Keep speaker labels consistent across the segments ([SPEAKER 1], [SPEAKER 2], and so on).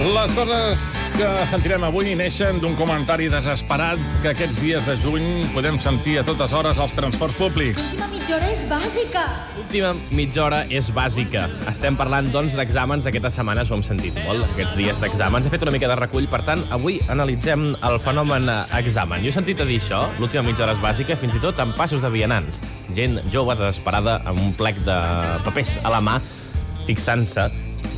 [SPEAKER 1] Les coses que sentirem avui neixen d'un comentari desesperat que aquests dies de juny podem sentir a totes hores als transports públics.
[SPEAKER 2] L'última mitja hora és bàsica.
[SPEAKER 3] L'última mitja hora és bàsica. Estem parlant, doncs, d'exàmens. Aquesta setmana ho hem sentit molt, aquests dies d'exàmens. He fet una mica de recull, per tant, avui analitzem el fenomen eh, examen. Jo he sentit a dir això, l'última mitja hora és bàsica, fins i tot en passos de vianants. Gent jove, desesperada, amb un plec de papers a la mà, fixant-se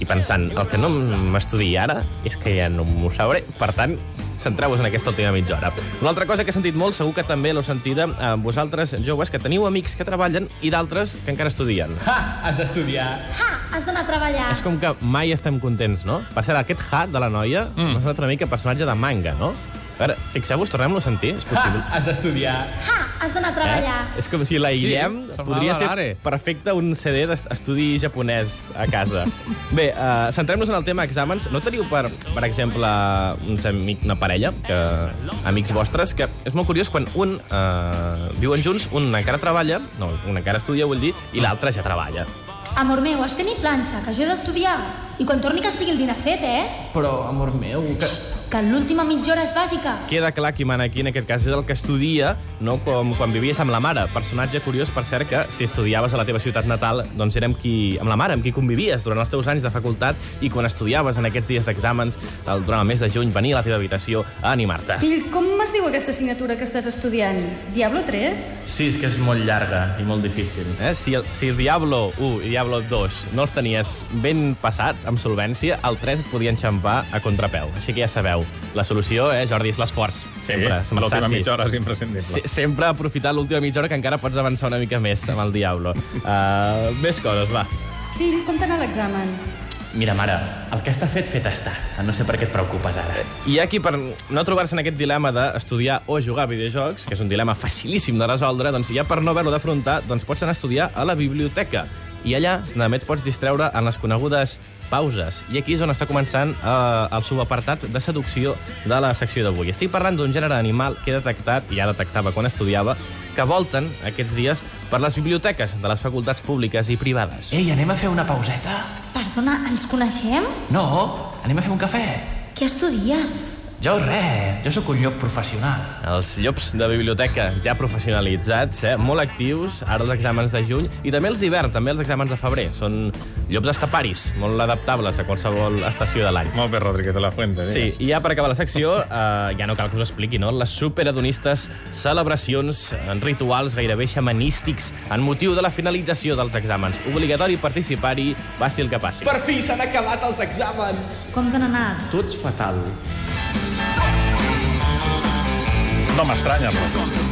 [SPEAKER 3] i pensant, el que no m'estudiï ara és que ja no m'ho sabré. Per tant, centreu-vos en aquesta última mitja hora. Una altra cosa que he sentit molt, segur que també l'heu sentida eh, vosaltres, joves, que teniu amics que treballen i d'altres que encara estudien.
[SPEAKER 4] Ha! Has d'estudiar.
[SPEAKER 2] Ha! Has d'anar a treballar.
[SPEAKER 3] És com que mai estem contents, no? Per cert, aquest ha de la noia mm. m'ha sonat una mica personatge de manga, no? A veure, fixeu-vos, tornem-lo a sentir, és
[SPEAKER 4] Ha!
[SPEAKER 3] possible.
[SPEAKER 4] Has d'estudiar.
[SPEAKER 2] Ha! Has d'anar a treballar.
[SPEAKER 3] Eh? És com si l'aïllem,
[SPEAKER 1] Sí,
[SPEAKER 3] sí,
[SPEAKER 1] semblava
[SPEAKER 3] podria ser
[SPEAKER 1] l'Are.
[SPEAKER 3] perfecte un CD d'estudi japonès a casa. Bé, uh, centrem-nos en el tema exàmens. No teniu, per, per exemple, uns amic, una parella, que, amics vostres, que és molt curiós quan un uh, viuen junts, un encara treballa, no, un encara estudia, vull dir, i l'altre ja treballa.
[SPEAKER 4] Eh?
[SPEAKER 2] Amor meu, has tenir planxa, que jo he d'estudiar. I quan torni que estigui el dinar fet, eh?
[SPEAKER 4] Però, amor meu, que...
[SPEAKER 2] Que l'última mitja hora és bàsica.
[SPEAKER 3] queda clar qui mana aquí, en aquest cas, és el que estudia, no com quan vivies amb la mare. Personatge curiós, per cert, que si estudiaves a la teva ciutat natal, doncs érem qui, amb la mare, amb qui convivies durant els teus anys de facultat i quan estudiaves en aquests dies d'exàmens, el- durant el mes de juny, venia a la teva habitació a animar-te.
[SPEAKER 5] Fill, com es diu aquesta assignatura que estàs estudiant? Diablo 3?
[SPEAKER 6] Sí, és que és molt llarga i molt difícil.
[SPEAKER 3] Eh? Si, el, si el Diablo 1 i Diablo 2 no els tenies ben passats, amb solvència, el 3 et podia enxampar a contrapeu. Així que ja sabeu, la solució, eh, Jordi, és l'esforç.
[SPEAKER 1] sí, l'última
[SPEAKER 3] saci.
[SPEAKER 1] mitja hora és imprescindible.
[SPEAKER 3] Se sempre aprofitar l'última mitja hora que encara pots avançar una mica més amb el Diablo. Uh, més coses, va.
[SPEAKER 5] Fill, com t'ha anat l'examen?
[SPEAKER 6] Mira, mare, el que està fet, fet està. No sé per què et preocupes ara.
[SPEAKER 3] Hi ha qui, per no trobar-se en aquest dilema d'estudiar o jugar a videojocs, que és un dilema facilíssim de resoldre, doncs ja per no haver-lo d'afrontar, doncs pots anar a estudiar a la biblioteca. I allà també et pots distreure en les conegudes pauses. I aquí és on està començant eh, el subapartat de seducció de la secció d'avui. Estic parlant d'un gènere animal que he detectat, i ja detectava quan estudiava, que volten aquests dies per les biblioteques de les facultats públiques i privades.
[SPEAKER 4] Ei, anem a fer una pauseta?
[SPEAKER 2] Perdona, ens coneixem?
[SPEAKER 4] No, anem a fer un cafè.
[SPEAKER 2] Què estudies?
[SPEAKER 4] Jo res, jo sóc un llop professional.
[SPEAKER 3] Els llops de biblioteca ja professionalitzats, eh? molt actius, ara els exàmens de juny, i també els d'hivern, també els exàmens de febrer. Són llops estaparis, molt adaptables a qualsevol estació de l'any.
[SPEAKER 1] Molt bé, Rodríguez de la Fuente.
[SPEAKER 3] Sí,
[SPEAKER 1] digues.
[SPEAKER 3] i ja per acabar la secció, eh, ja no cal que us expliqui, no? Les superadonistes, celebracions, en rituals gairebé xamanístics, en motiu de la finalització dels exàmens. Obligatori participar-hi, passi el que passi.
[SPEAKER 4] Per fi s'han acabat els exàmens.
[SPEAKER 2] Com t'han anat?
[SPEAKER 6] Tu ets fatal.
[SPEAKER 1] No m'estranya, però.